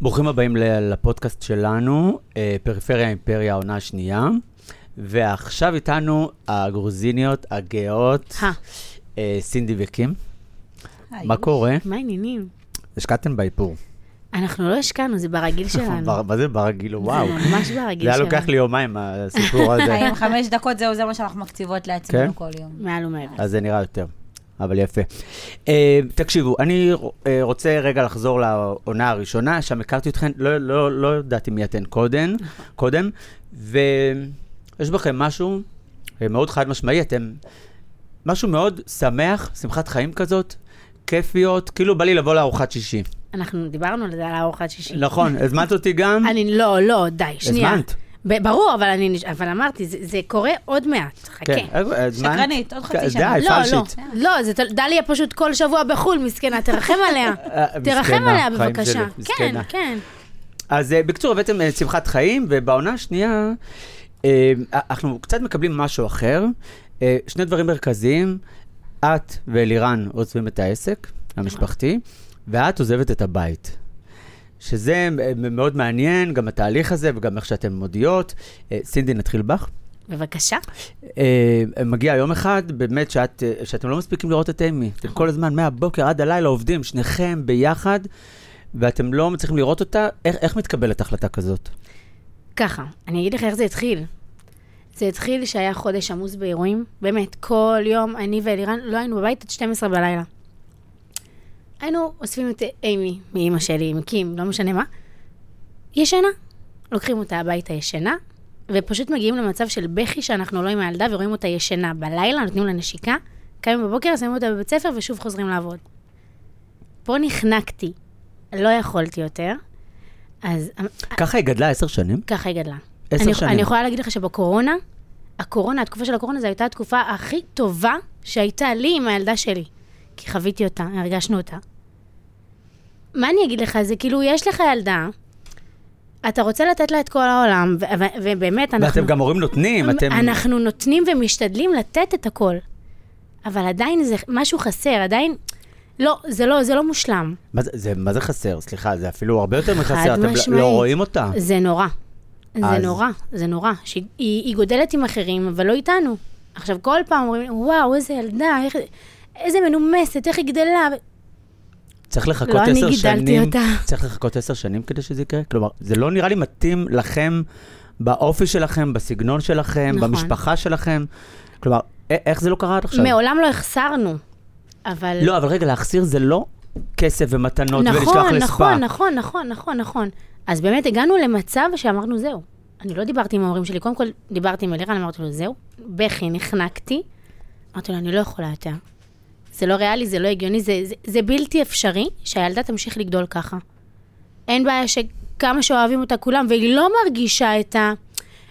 ברוכים הבאים ל- לפודקאסט שלנו, אה, פריפריה אימפריה, העונה השנייה. ועכשיו איתנו הגרוזיניות הגאות, אה. אה, סינדי וקים. מה קורה? מה העניינים? השקעתם באיפור. אנחנו לא השקענו, זה ברגיל שלנו. בר- מה זה ברגיל? וואו. זה ממש ברגיל זה היה שלנו. לוקח לי יומיים, הסיפור הזה. חיים חמש דקות, זהו, זה מה שאנחנו מקציבות כן? לעצמנו כל יום. מעל ומעבר. אז זה נראה יותר, אבל יפה. אה, תקשיבו, אני אה, רוצה רגע לחזור לעונה הראשונה, שם הכרתי אתכן, לא, לא, לא ידעתי מי אתן קודם, קודם, ויש בכם משהו אה, מאוד חד משמעי, אתם משהו מאוד שמח, שמחת חיים כזאת. כיפיות, כאילו בא לי לבוא לארוחת שישי. אנחנו דיברנו על זה, על הארוחת שישי. נכון, הזמנת אותי גם, אני, לא, לא, די, שנייה. הזמנת. ב- ברור, אבל אני, נש- אבל אמרתי, זה- זה קורה עוד מעט, חכה. כן, אה, הזמנת. שקרנית, עוד חצי כן, שנה. די, לא, לא, פלשית. לא, זה, ת- דליה פשוט כל שבוע בחו"ל, מסכנה, תרחם עליה. אה, תרחם מסכנה, עליה חיים בבקשה. שלי, כן, מסכנה. כן. אז אה, בקיצור, הבאתם אה, שמחת חיים, ובעונה השנייה, אה, אנחנו קצת מקבלים משהו אחר. אה, שני דברים מרכזיים, את ואלירן עוזבים את העסק המשפחתי, ואת עוזבת את הבית. שזה אה, מאוד מעניין, גם התהליך הזה וגם איך שאתן מודיעות. אה, סינדי, נתחיל בך. בבקשה. אה, מגיע יום אחד, באמת, שאת, אה, שאתם לא מספיקים לראות את אמי. אתם כל הזמן, מהבוקר עד הלילה עובדים, שניכם ביחד, ואתם לא מצליחים לראות אותה. איך, איך מתקבלת החלטה כזאת? ככה, אני אגיד לך איך זה התחיל. זה התחיל שהיה חודש עמוס באירועים, באמת, כל יום אני ואלירן לא היינו בבית עד 12 בלילה. היינו אוספים את אימי מאימא שלי, מקים, לא משנה מה, ישנה. לוקחים אותה הביתה ישנה, ופשוט מגיעים למצב של בכי שאנחנו לא עם הילדה ורואים אותה ישנה בלילה, נותנים לה נשיקה, קמים בבוקר, שמים אותה בבית ספר ושוב חוזרים לעבוד. פה נחנקתי, לא יכולתי יותר, אז ככה היא גדלה עשר שנים? ככה היא גדלה. עשר אני, שנים. אני יכולה להגיד לך שבקורונה, הקורונה, התקופה של הקורונה זו הייתה התקופה הכי טובה שהייתה לי עם הילדה שלי. כי חוויתי אותה, הרגשנו אותה. מה אני אגיד לך? זה כאילו, יש לך ילדה, אתה רוצה לתת לה את כל העולם, ו- ו- ובאמת, אנחנו... ואתם גם הורים נותנים, אתם... אנחנו נותנים ומשתדלים לתת את הכל. אבל עדיין זה משהו חסר, עדיין... לא, זה לא, זה לא מושלם. מה, זה, זה, מה זה חסר? סליחה, זה אפילו הרבה יותר מחסר, חד אתם לא- משמעית. לא רואים אותה. זה נורא. זה אז- נורא, זה נורא. שהיא היא גודלת עם אחרים, אבל לא איתנו. עכשיו, כל פעם אומרים, וואו, איזה ילדה, איך, איזה מנומסת, איך היא גדלה. צריך לחכות לא, אני עשר גידלתי שנים. אותה. צריך לחכות עשר שנים כדי שזה יקרה? כלומר, זה לא נראה לי מתאים לכם, באופי שלכם, בסגנון שלכם, נכון. במשפחה שלכם. כלומר, א- איך זה לא קרה עד עכשיו? מעולם לא החסרנו, אבל... לא, אבל רגע, להחסיר זה לא כסף ומתנות ולשלוח נכון, לספא. נכון, נכון, נכון, נכון, נכון. אז באמת הגענו למצב שאמרנו, זהו. אני לא דיברתי עם ההורים שלי, קודם כל דיברתי עם אלירן, אמרתי לו, זהו. בכי, נחנקתי. אמרתי לו, אני לא יכולה יותר. זה לא ריאלי, זה לא הגיוני, זה, זה, זה בלתי אפשרי שהילדה תמשיך לגדול ככה. אין בעיה שכמה שאוהבים אותה כולם, והיא לא מרגישה את ה...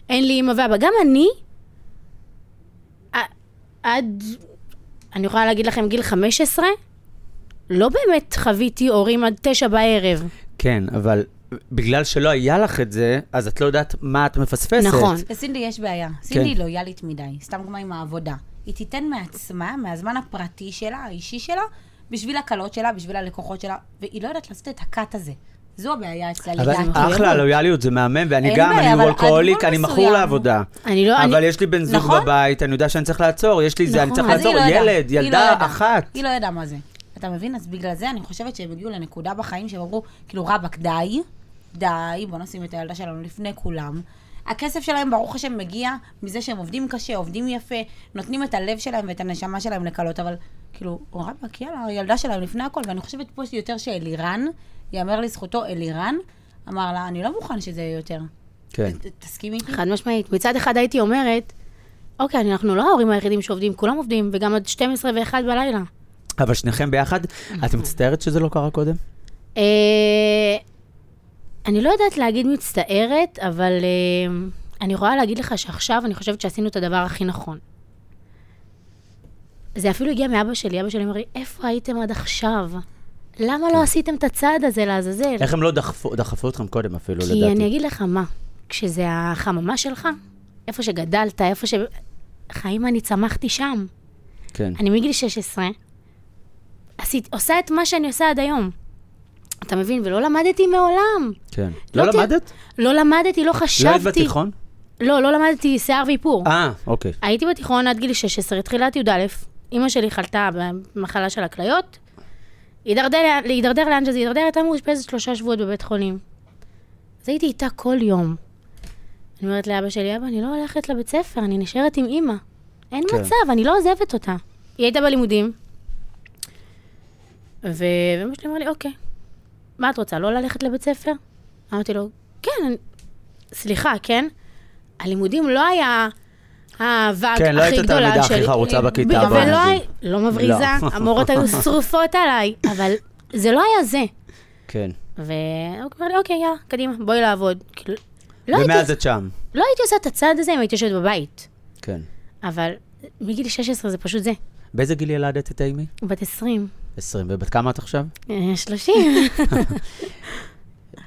אין לי אימא ואבא. גם אני, ע- עד, אני יכולה להגיד לכם, גיל 15, לא באמת חוויתי הורים עד תשע בערב. כן, אבל בגלל שלא היה לך את זה, אז את לא יודעת מה את מפספסת. נכון. לסינדי יש בעיה. סינדי כן. היא לויאלית מדי, סתם דוגמה עם העבודה. היא תיתן מעצמה, מהזמן הפרטי שלה, האישי שלה, בשביל הקלות שלה, בשביל הלקוחות שלה, והיא לא יודעת לעשות את הקאט הזה. זו הבעיה אצלה אבל לדעתי. אחלה, לויאליות זה מהמם, ואני אין גם, בעיה, אני אבל עד וולקוהוליק, גבול אני מכור מסוים. לעבודה. אני לא... אבל אני... יש לי בן זוג נכון. בבית, אני יודע שאני צריך לעצור, יש לי זה, אני נכון. צריך אז היא לעצור. לא ידעה. ילד, היא לא ילדה ידעה. אחת. היא לא ידעה מה זה. אתה מבין? אז בגלל זה אני חושבת שהם הגיעו לנקודה בחיים שהם אמרו, כאילו, רבאק, די, די, בוא נשים את הילדה שלנו לפני כולם. הכסף שלהם, ברוך השם, מגיע מזה שהם עובדים קשה, עובדים יפה, נותנים את הלב שלהם ואת הנשמה שלהם לקלות, אבל כאילו, רבאק, יאללה, הילדה שלהם לפני הכל, ואני חושבת פה יותר שאלירן, יאמר לזכותו, אלירן, אמר לה, אני לא מוכן שזה יהיה יותר. כן. ת- תסכימי איתי? חד משמעית. מצד אחד הייתי אומרת, אוקיי, אנחנו לא ההורים היחידים שעובדים, כולם עובדים, וגם עד 12 ו-1 בלילה. אבל שניכם ביחד, את מצטערת שזה לא קרה קודם? אה, אני לא יודעת להגיד מצטערת, אבל אה, אני יכולה להגיד לך שעכשיו אני חושבת שעשינו את הדבר הכי נכון. זה אפילו הגיע מאבא שלי, אבא שלי אומר לי, איפה הייתם עד עכשיו? למה לא עשיתם את הצעד הזה לעזאזל? איך הם לא דחפו דחפו אתכם קודם אפילו, כי אני לא לדעתי? אגיד לך מה, כשזה החממה שלך, איפה שגדלת, איפה ש... חיים, אני צמחתי שם. כן. אני מגיל 16, עשית, עושה את מה שאני עושה עד היום. אתה מבין? ולא למדתי מעולם. כן. לא תהיה- למדת? לא למדתי, לא חשבתי. לא היית בתיכון? לא, לא למדתי שיער ואיפור. אה, אוקיי. הייתי בתיכון עד גיל 16, תחילת י"א. אימא שלי חלתה במחלה של הכליות. הידרדר לאן- להידרדר לאן שזה הידרדר, הייתה מאושפזת שלושה שבועות בבית חולים. אז הייתי איתה כל יום. אני אומרת לאבא שלי, אבא, אני לא הולכת לבית ספר, אני נשארת עם אימא. אין כן. מצב, אני לא עוזבת אותה. היא הייתה בלימודים. ו- ואבא שלי אמר לי, אוקיי, מה את רוצה, לא ללכת לבית ספר? אמרתי לו, כן, אני... סליחה, כן? הלימודים לא היה האהבה כן, לא הכי הייתה גדולה התלמידה הכי שלי. חרוצה בכיתה. ב- בוא ולא נגיד. הי- לא מבריזה, לא. המורות היו שרופות עליי, אבל זה לא היה זה. כן. והוא אמר לי, אוקיי, יאללה, קדימה, בואי לעבוד. כאילו, לא הייתי, ומאז את שם. לא הייתי עושה את הצעד הזה אם הייתי יושבת בבית, כן. אבל מגיל 16 זה פשוט זה. באיזה גיל ילדת את אימי? בת 20, 20. ובת כמה את עכשיו? אה, 30.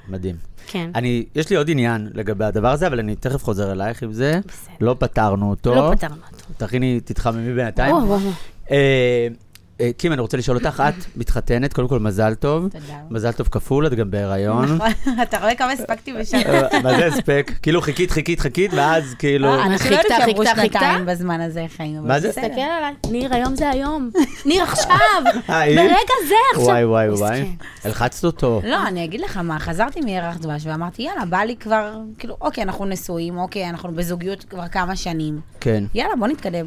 מדהים. כן. אני, יש לי עוד עניין לגבי הדבר הזה, אבל אני תכף חוזר אלייך עם זה. בסדר. לא פתרנו אותו. לא פתרנו אותו. תכיני, תתחממי בינתיים. וואו, וואו, וואו. אה, אה, קים, אני רוצה לשאול אותך, את מתחתנת, קודם כל מזל טוב. תודה. מזל טוב כפול, את גם בהיריון. נכון, אתה רואה כמה הספקתי בשנה. אה, מה זה הספק? כאילו חיכית, חיכית, חיכית, ואז כאילו... אה, אנשים לא חיכתה, יודעים שעברו חיכתה, חיכתה? שנתיים בזמן הזה חיים, מה אבל זה? בסדר. תסתכל עליי. ניר, היום זה היום. ניר, עכשיו! אה, היא? ברגע זה, עכשיו. כן. וואי, וואי, וואי. מסכן. הלחצת אותו. לא, אני אגיד לך מה, חזרתי מירח דבש ואמרתי, יאללה, בא לי כבר, כאילו, אוקיי, אנחנו נשואים, אוקיי, אנחנו בזוגיות כבר כמה שנים. כן, יאללה, בוא נתקדם.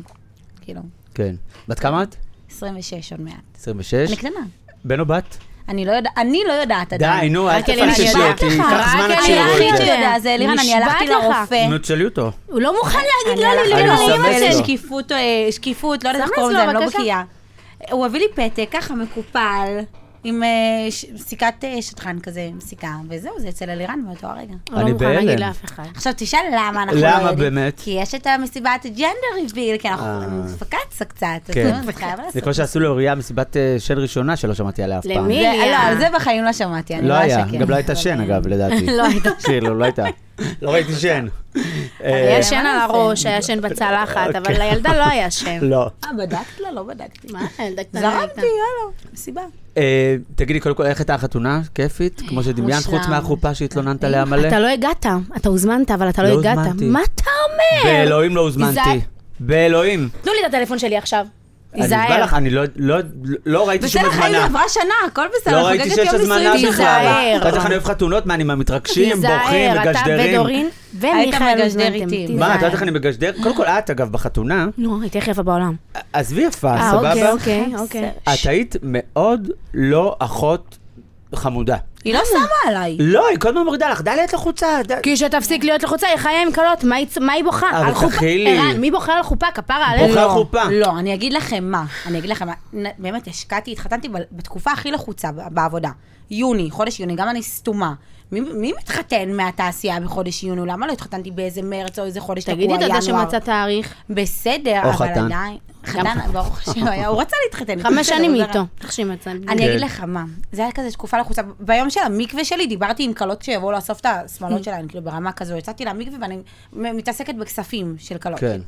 כאילו, כן. בת כמה את? 26 עוד מעט. 26? אני קטנה. בן או בת? אני לא יודעת, אני לא יודעת עדיין. די, נו, אל רק אלירן, תפששי נשבעת אותי. לך. ייקח זמן עד רק אני שיראו היחיד את זה. היחיד שיודע זה, אלירן, אני נשבעת הלכתי לך. לרופא. נו, תשאלי אותו. הוא לא מוכן להגיד לא הלכתי לי, לא אני לאמא מסמס לו. שלי. שקיפות, אה, שקיפות, לא יודעת איך סמס קוראים לו, לזה, אני לא בבקשה. בקיאה. הוא הביא לי פתק, ככה מקופל, עם אה, ש- סיכת אה, שטחן כזה, עם סיכה, וזהו, זה אצל אלירן מאותו הרגע. הוא אני לא מוכן להגיד בהלם. לאף אחד. עכשיו תשאל למה אנחנו לא למה יודעים. באמת? כי יש את המסיבת ג'נדר ריביל, כי אה. אנחנו פקצה קצת. אז כן. נו, זה חייב זה לעשות. כמו שעשו לאוריה מסיבת אה, שן ראשונה שלא שמעתי עליה אף פעם. למי? זה- היה. לא, על זה בחיים לא שמעתי, אני לא היה, אשקר. גם לא הייתה שן אגב, לדעתי. לא הייתה. כאילו, לא הייתה. לא ראיתי שן. אה, אוקיי. היה שן מה על זה? הראש, היה שן בצלחת, אבל לילדה לא היה שן. לא. אה, בדקת לה? לא בדקתי. לא מה, הילדה קטנה זרמתי, הייתה. יאללה, מסיבה. אה, תגידי, קודם כל, איך הייתה החתונה? כיפית? כמו שדמיינת, מושלם. חוץ מהחופה שהתלוננת עליה מלא? אתה לא הגעת, אתה הוזמנת, אבל אתה לא לא הגעת. הוזמנתי. מה אתה אומר? באלוהים לא תיזהר- הוזמנתי. באלוהים. תנו לי את הטלפון שלי עכשיו. אני נשבע תיזהר. לך, אני לא- לא- לא ראיתי שום בסדר, חיים, הזמנה. עברה שנה, הכל בסדר, לא ראיתי חוגגת שיש יום הזמנה נישואים שלך. בכלל. תיזהר. אתה יודע איך אני אוהב חתונות? מה, אני מהמתרגשים, בורחים, תיזהר, אתה מגשדרים? ודורין ומיכאל היית מגשדר הוזמנתם. איתי. תיזהר. מה, אתה יודע איך אני מגשדר? קודם כל, את, אגב, בחתונה, נו, הייתי הכי יפה בעולם. עזבי יפה, אה, אוקיי, סבבה? אוקיי, אוקיי. את היית מאוד לא אחות חמודה. היא לא שמה עליי. לא, היא כל הזמן מורידה לך, דליה את לחוצה. ד- כי שתפסיק להיות לחוצה, היא חיה עם כלות, מה היא צ- מה היא בוכה? אה, אבל על חופה- תכילי. ערן, מי בוכה על חופה? כפרה עלינו. בוכה לא, חופה. לא, אני אגיד לכם מה, אני אגיד לכם מה, נ- באמת השקעתי, התחתנתי ב- בתקופה הכי לחוצה ב- בעבודה. יוני, חודש יוני, גם אני סתומה. מי, מי מתחתן מהתעשייה בחודש יוני? למה לא התחתנן באיזה מרץ או איזה חודש תקוע, תגידי, ינואר? אתה יודע שמצא תאריך? בסדר, או אבל חתן. עדיין... חתן, ברוך השם, היה- הוא רצה להתחתן. חמש בסדר, שנים הוא היא זרם. איתו. תחשבי מצא. אני כן. אגיד לך מה, זה היה כזה תקופה לחוצה. ביום של המקווה שלי דיברתי עם כלות שיבואו לאסוף את Mm. השמלות שלהן, כאילו ברמה כזו. יצאתי למקווה ואני מ- מתעסקת בכספים של כלות. כן.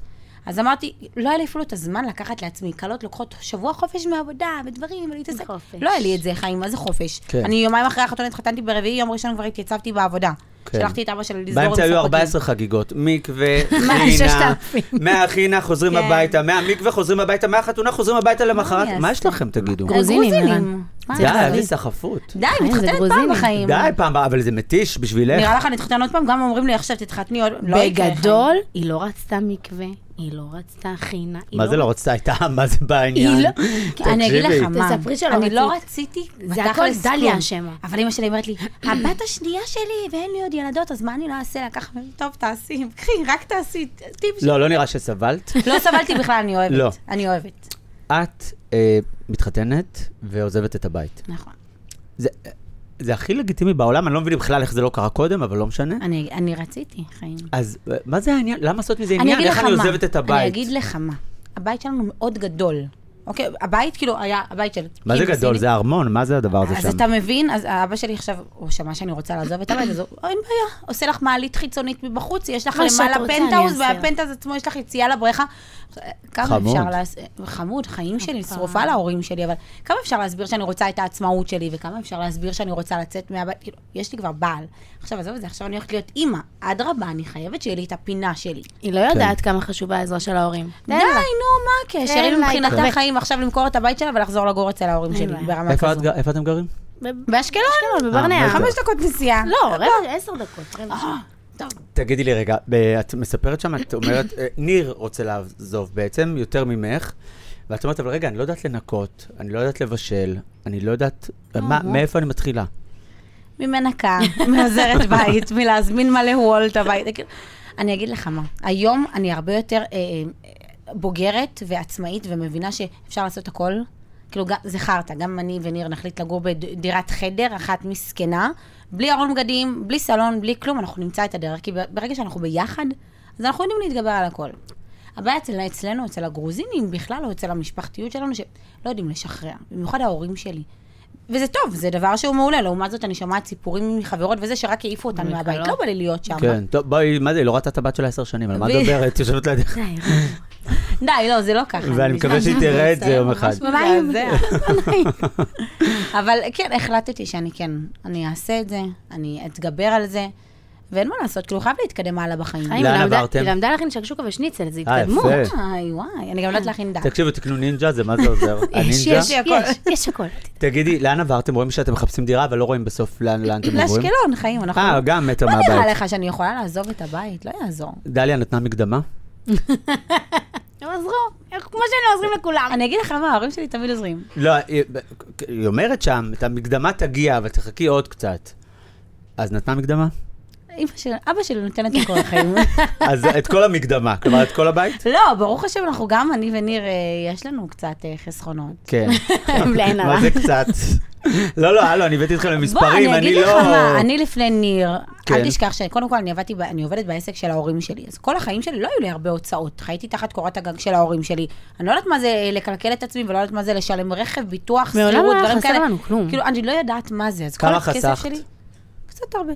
אז אמרתי, לא היה לי אפילו את הזמן לקחת לעצמי. כלות לוקחות שבוע חופש מעבודה, בדברים, ולהתעסק. חופש. לא היה לי את זה, חיים, מה זה חופש? כן. אני יומיים אחרי החתונה התחתנתי ברביעי, יום ראשון כבר התייצבתי בעבודה. כן. שלחתי את אבא שלי לסגור עם באמצע היו ספקים. 14 חגיגות, מקווה, מה, חינה, 6,000. מהחינה חוזרים כן. הביתה, מהמקווה חוזרים הביתה, מהחתונה חוזרים הביתה למחרת. אני מה אעשה? יש לכם, תגידו? גרוז- גרוזינים, אה, גרוזינים. מה די, לעשות? איזה סחפות. די, חיים, זה מתחתנת פעם גרוזינים. בחיים. די פעם, הבאה, אבל זה מתיש בשבילך. נראה לך נתחתן עוד פעם? גם אומרים לי עכשיו תתחתני עוד... לא יקרה, חיים. בגדול, היא לא רצתה מקווה, היא לא רצתה חינה. היא מה זה לא רצתה? הייתה, מה זה בעניין? היא לא- אני אגיד לך מה, תספרי שלא אני לא רצית. רציתי, זה בתכלס הכל דליה כלום. אשמה. אבל אימא שלי אומרת לי, הבת השנייה שלי, ואין לי עוד ילדות, אז מה אני לא אעשה לה? ככה, טוב, תעשי, קחי, רק תעשי, טיפ שלי. לא, לא נראה שסבלת. לא סבלתי בכלל, אני אוהבת. לא. אני אוהבת. את אה, מתחתנת ועוזבת את הבית. נכון. זה- זה הכי לגיטימי בעולם, אני לא מבין בכלל איך זה לא קרה קודם, אבל לא משנה. אני אני רציתי, חיים. אז אה, מה זה העניין? למה לעשות מזה אני עניין? אגיד ואיך לך אני מה. עוזבת את הבית? אני אגיד לך מה. הבית שלנו מאוד גדול, אוקיי? הבית, כאילו, היה הבית של... מה זה קים גדול? סיני. זה ארמון, מה אה, זה הדבר הזה אז שם? אתה מבין? אז אבא שלי עכשיו, הוא שמע שאני רוצה לעזוב את הבית, אז הוא, אין בעיה, עושה לך מעלית חיצונית מבחוץ, יש לך מה שאת למעלה רוצה, אני פנטהאוז, אעשה. והפנטהאוז עצמו יש לך יציאה לבריכה. כמה חמוד. אפשר להסביר, חמוד, חיים שלי, אופה. שרופה להורים שלי, אבל כמה אפשר להסביר שאני רוצה את העצמאות שלי, וכמה אפשר להסביר שאני רוצה לצאת מהבית, כאילו, יש לי כבר בעל. עכשיו, עזוב את זה, עכשיו אני הולכת להיות אימא. אדרבה, אני חייבת שיהיה לי את הפינה שלי. היא לא יודעת כן. כמה חשובה העזרה של ההורים. די, נו, מה הקשר? תן היא לה, מבחינתה התרחק. חיים עכשיו למכור את הבית שלה ולחזור לגור אצל ההורים אין שלי, בעיה. ברמה איפה את כזו. ג- איפה אתם גרים? באשקלון? באשקלון, בברנע. אה, חמש אה, דקות נסיעה. לא, רבע, עשר דקות. רבע לא. שעה. טוב. תגידי לי רגע, ב- את מספרת שם, את אומרת, אה, ניר רוצה לעזוב בעצם, יותר ממך, ואת אומרת, אבל רגע, אני לא יודעת לנקות, אני לא יודעת לבשל, אני לא יודעת, מה- נו. מאיפה אני מתחילה? ממנקה, מעוזרת בית, מלהזמין מלא וולט הביתה. כאילו, אני אגיד לך מה, היום אני הרבה יותר אה, אה, בוגרת ועצמאית ומבינה שאפשר לעשות הכל. כאילו, גם- זה חרטא, גם אני וניר נחליט לגור בדירת חדר, אחת מסכנה, בלי ארון בגדים, בלי סלון, בלי כלום, אנחנו נמצא את הדרך, כי ברגע שאנחנו ביחד, אז אנחנו יודעים להתגבר על הכל. הבעיה אצל, אצלנו, אצל הגרוזינים בכלל, או אצל המשפחתיות שלנו, שלא יודעים לשחרר, במיוחד ההורים שלי. וזה טוב, זה דבר שהוא מעולה. לעומת זאת, אני שומעת סיפורים מחברות וזה, שרק העיפו אותן אוי, מהבית. קלות. לא בא לי להיות שם. כן, טוב, בואי, מה זה, היא לא ראתה את הבת שלה עשר שנים, על מה את ב- מדברת? יושבת לידך. די, די, לא, זה לא ככה. ואני מקווה שהיא תראה את זה יום אחד. מה די, עם זה? די. אבל כן, החלטתי שאני כן, אני אעשה את זה, אני אתגבר על זה, ואין מה לעשות, כאילו, חייב להתקדם הלאה בחיים. חיים, לאן היא למדה- עברתם? היא למדה להכין שקשוקה ושניצל, זה אה, התקדמות. יפה. וואי, וואי, אני גם לא יודעת להכין דעת. תקשיבו, תקנו נינג'ה, זה מה זה עוזר? יש, הנינג'ה? יש, יש לי הכל. יש, יש הכל. תגידי, לאן עברתם? רואים שאתם מחפשים דירה, אבל לא רואים בסוף לאן לאן אתם עוברים? לאשקלון, חיים, אנחנו... אה, גם מתה מה נראה מהבית. לך שאני יכולה לעזוב את הבית? לא יעזור. דליה נתנה מקדמה? הם עזרו, איך- כמו שהם עוזרים לכולם. אני אגיד לך למה, ההורים שלי תמיד עוזרים. לא, היא- היא אומרת שם, את המקדמה תגיע, אבל תחכי עוד קצת. אז נתנה מקדמה? אמא שלי, אבא שלי נותן את הכל החיים. אז את כל המקדמה, כלומר את כל הבית? לא, ברוך השם, אנחנו גם, אני וניר, אה, יש לנו קצת אה, חסכונות. כן. בלי עין הרע. מה זה קצת? לא, לא, הלו, אני הבאתי אתכם בוא, למספרים, אני אני אגיד לא... לך מה, אני לפני ניר, כן. אל תשכח שקודם כל אני עבדתי, ב- אני עובדת בעסק של ההורים שלי, אז כל החיים שלי לא היו לי הרבה הוצאות, חייתי תחת קורת הגג של ההורים שלי. אני לא יודעת מה זה אה, לקלקל את עצמי, ולא יודעת מה זה לשלם רכב, ביטוח, מעולם שכירות, לא דברים כאלה. היה חסר לנו כלום. כאילו, אני לא יודעת מה זה, אז כל כמה הכסף חסכת? שלי... קצת הרבה.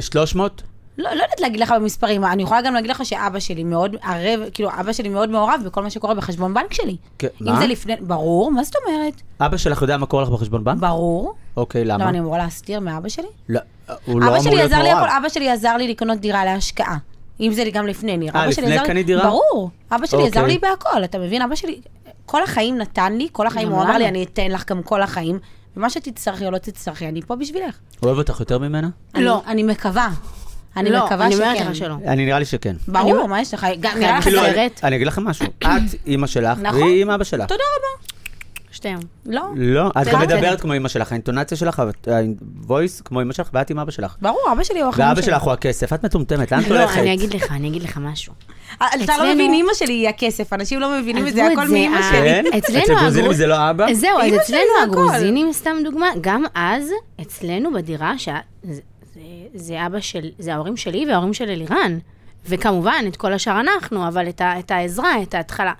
300? לא, לא יודעת להגיד לך במספרים, אני יכולה גם להגיד לך שאבא שלי מאוד ערב, כאילו, אבא שלי מאוד מעורב בכל מה שקורה בחשבון בנק שלי. כן, אם מה? זה לפני, ברור, מה זאת אומרת? אבא שלך יודע מה קורה לך בחשבון בנק? ברור. אוקיי, למה למה? לא, אני אמורה להסתיר מאבא שלי? לא, הוא לא אבא אמור שלי להיות עזר לי הכל, מעורב. אבא שלי עזר לי לקנות דירה להשקעה. אם זה לי גם לפני ניר. אה, אבא שלי לפני עזר לי- קנית דירה? ברור. אבא שלי עזר אוקיי. לי בהכל, אתה מבין? אבא שלי כל החיים נתן לי, כל החיים גם הוא אמר לנו. לי, אני אתן לך גם כל החיים, ומה שתצטרכי או לא תצטרכי, אני פה בשבילך. הוא אוהב אותך יותר ממנה? לא. אני אני מקווה. אני לא, מקווה אני שכן. אומרת לך שלא. אני נראה לי שכן. ברור, מה יש לך? גם נראה לך כאילו, זה... אני- חזרת. אני אגיד לכם משהו, את אימא שלך, נכון. והיא אימא אבא לא. שלך. תודה רבה. שתיהם. לא. לא, את גם בסדר. מדברת כמו אימא שלך, האינטונציה שלך, הוויס כמו אימא שלך, ואת עם אבא שלך. ברור, אבא שלי הוא החיים ואבא שלך הוא הכסף, את מטומטמת, לאן את לא, הולכת? אני אגיד לך, אני אגיד לך משהו. אתה אצלנו- לא מבין, אימא שלי היא הכסף, אנשים לא מבינים את זה, עזבו הכל זה, מאימא אה, שלי. כן? אצלנו אצל גרוזינים הגרו- זה לא אבא? זהו, אז אימא שלי אצלנו זה הכל. הגרוזינים, סתם דוגמה, גם אז, אצלנו בדירה, שה- זה- זה- זה אבא של, זה ההורים שלי וההורים של אלירן. וכמובן, את כל השאר אנחנו, אבל את ה- את העזרה, את ההתחלה.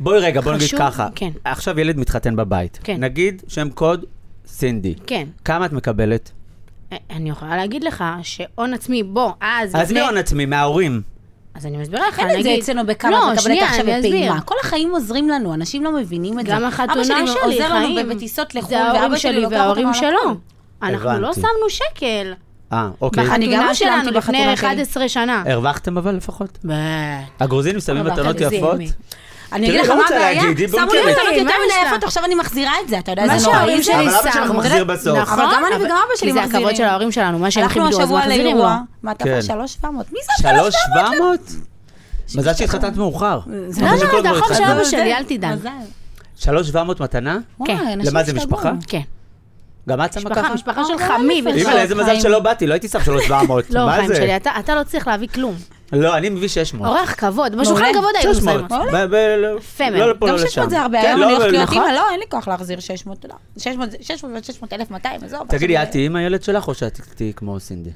בואי רגע, בוא נגיד חשוב, ככה. כן. עכשיו ילד מתחתן בבית. כן. נגיד שם קוד סינדי. כן. כמה את מקבלת? אני יכולה להגיד לך שהון עצמי, בוא, אז... אז לפני- מהון עצמי, מההורים. אז אני מסבירה לך, נגיד... אין את זה אצלנו בכמה, לא, את מקבלת שנייה, עכשיו אני אסביר. בפעימה. כל החיים עוזרים לנו, אנשים לא מבינים את זה. גם החתונה שלי, חיים. אבא שלי עוזר לנו בטיסות לחו"ל, זה ההורים ואבא שלי שלי לוקח אותנו וההורים על שלו. הכל. אנחנו לא הבנתי. שמנו שקל. אה, אוקיי. בח- אני גם בחתונה לא שילמתי שלנו לפני בחתונה שלי. 11 שנה. הרווחתם אבל לפחות? בטח. הגרוזינים שמים אבל מתנות הגרוזינים. יפות? אני אגיד תראי, לך לא מה רוצה הבעיה, להגיד, היא שמו לי בונקרית. מתנות כן, יותר מה מדי יש לה? יפות, עכשיו אני מחזירה את זה, אתה יודע, מה זה נורא. שההורים שלי אבל אבא שלך שמו. מחזיר בסוף. נכון, אבל גם אני וגם אבא שלי כי זה הכבוד מחזירים. של ההורים שלנו, מה שהם הלכנו כיבדו, אז השבוע מחזירים לו. לאירוע, מעטפה כן. 3,700. מי זה שלוש שבע מאות? מזל שהתחתנת מאוחר. לא, אחרי שכל לא, זה הגרוש נכון, החוב של התחתן. אבא שלי, אל תדאג. מזל. שלוש שבע מאות מתנה? וואי, כן. למה, אנשים זה השתגעו. משפחה? כן. גם את שמה משפחה, ככה? משפחה אה, שלך, גם מי נפש. ולא. אימא, איזה מזל חיים. שלא באתי, לא הייתי שם שלוש שבע מאות. לא, מה חיים זה? שלי, אתה אתה לא צריך להביא כלום. לא, אני מביא שש מאות. אורח כבוד, בשולחן מעולה. כבוד היינו 600. שמים. מעולה. ב- ב- לא- פמל. לא לפה, גם לא 600 זה לשם. הרבה, כן, היום לא, אני הולכת אבל- להיות נכון. אימא, לא, אין לי כוח להחזיר 600, תודה. 600 ועוד 600 אלף 200, עזוב. תגידי, עכשיו את תהיי עם הילד שלך או שאת תהיי כמו סינדי?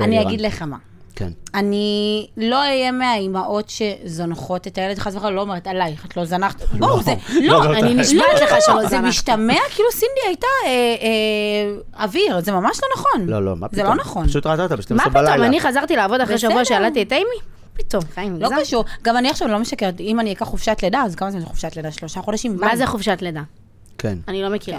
אני ואלירן? אגיד לך מה. כן. אני לא אהיה מהאימהות שזונחות את הילד, חס וחלילה, לא אומרת עלייך, את לא זנחת. בואו, זה... לא, לא, לא, אני לא. נשבעת לך שלא זה זנחתי. משתמע כאילו סינדי הייתה אה, אה, אוויר, זה ממש לא נכון. לא, לא, מה פתאום? זה לא נכון. פשוט ראתה אותה ב-12 מה בלילה. פתאום, אני חזרתי לעבוד אחרי שבוע בסדר. שילדתי את אימי? פתאום, חיים, לא גזמת. קשור. גם אני עכשיו לא משקרת, אם אני אקח חופשת לידה, אז כמה זמן זה חופשת לידה? שלושה חודשים? מה זה חופשת לידה? כן. אני לא מכירה.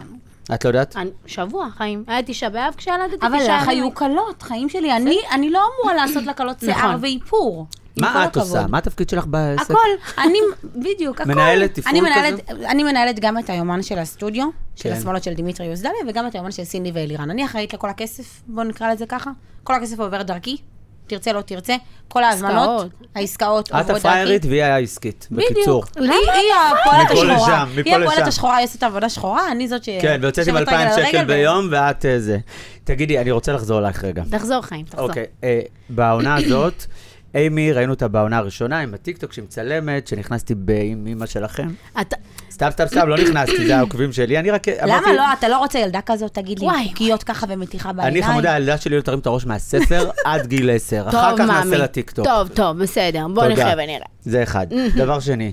את לא יודעת? אני- שבוע, חיים. היה תשעה באב כשילדתי תשעה אבל לך ימים. היו קלות, חיים שלי. אני, אני לא אמורה לעשות לה קלות שיער נכון. ואיפור. עם כל מה את הכבוד. עושה? מה התפקיד שלך בעסק? הכל, אני, בדיוק, הכל. מנהלת תפעול אני מנהלת, אני מנהלת גם את היומן של הסטודיו, של כן. השמאלות של דמיטרי יוסדליה, וגם את היומן של סינדי ואלירן. אני אחראית לכל הכסף, בואו נקרא לזה ככה. כל הכסף עובר דרכי, תרצה, לא תרצה. כל ההזמנות, העסקאות עוברות את דרכי. הפריירית והיא העסקית, בקיצור. בדיוק. היא היא הפועלת מפה השחורה. לשם, מפה היא הפועלת לשם. השחורה, היא עושה את העבודה שחורה, אני זאת ש... כן, והוצאתי עם יושבת 2,000 רגל אה, על שקל רגל ו- ביום, ואת אה, זה. תגידי, אני רוצה לחזור אלייך רגע. תחזור, חיים, תחזור. אוקיי, אה, בעונה הזאת, אימי, ראינו אותה בעונה הראשונה עם הטיקטוק שהיא מצלמת, שנכנסתי ב- עם אימא שלכם. אתה- סתם, סתם, סתם, לא נכנסתי, זה העוקבים שלי, אני רק... למה אמרתי, לא? אתה לא רוצה ילדה כזאת, תגיד לי, וואי. קוקיות ככה ומתיחה בעיניים? אני חמודה, הילדה שלי לא תרים את הראש מהספר עד גיל 10. טוב, אחר כך מאמי. נעשה לה טיקטוק. טוב, טוב, בסדר. בוא תודה. נחיה ונראה. זה אחד. Mm-hmm. דבר שני,